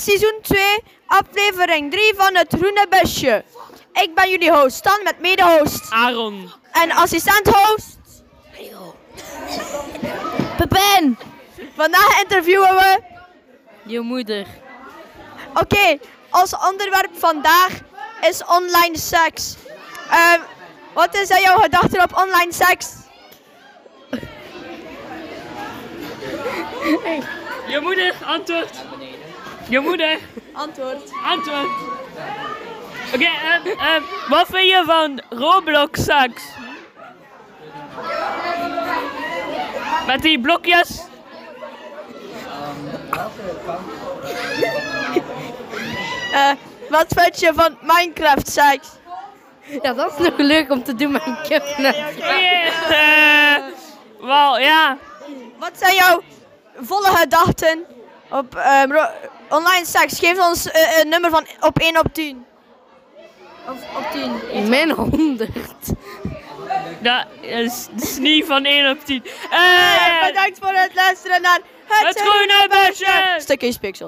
seizoen 2, aflevering 3 van het Groene Busje. Ik ben jullie host, Stan, met mede-host Aaron. en assistent-host. Pepijn! Vandaag interviewen we... Je moeder. Oké, ons onderwerp vandaag is online seks. Ehm, wat is aan jouw gedachte op online seks? Je moeder, antwoord. Je moeder, Antwoord. antwoord. Oké, ehm, ehm, wat vind je van Roblox seks? Met die blokjes? wat vind je van Minecraft seks? Ja, dat is nog leuk om te doen, maar ik heb net... Eh, Wel, ja. Wat zijn jouw volle gedachten op ehm, ro- online seks? Geef ons eh, een nummer van op 1 op 10. Of op 10. Mijn honderd. Dat is, dat is niet van 1 op 10. Eh, Bedankt voor het luisteren naar het, het groene busje! Stukje Pixel.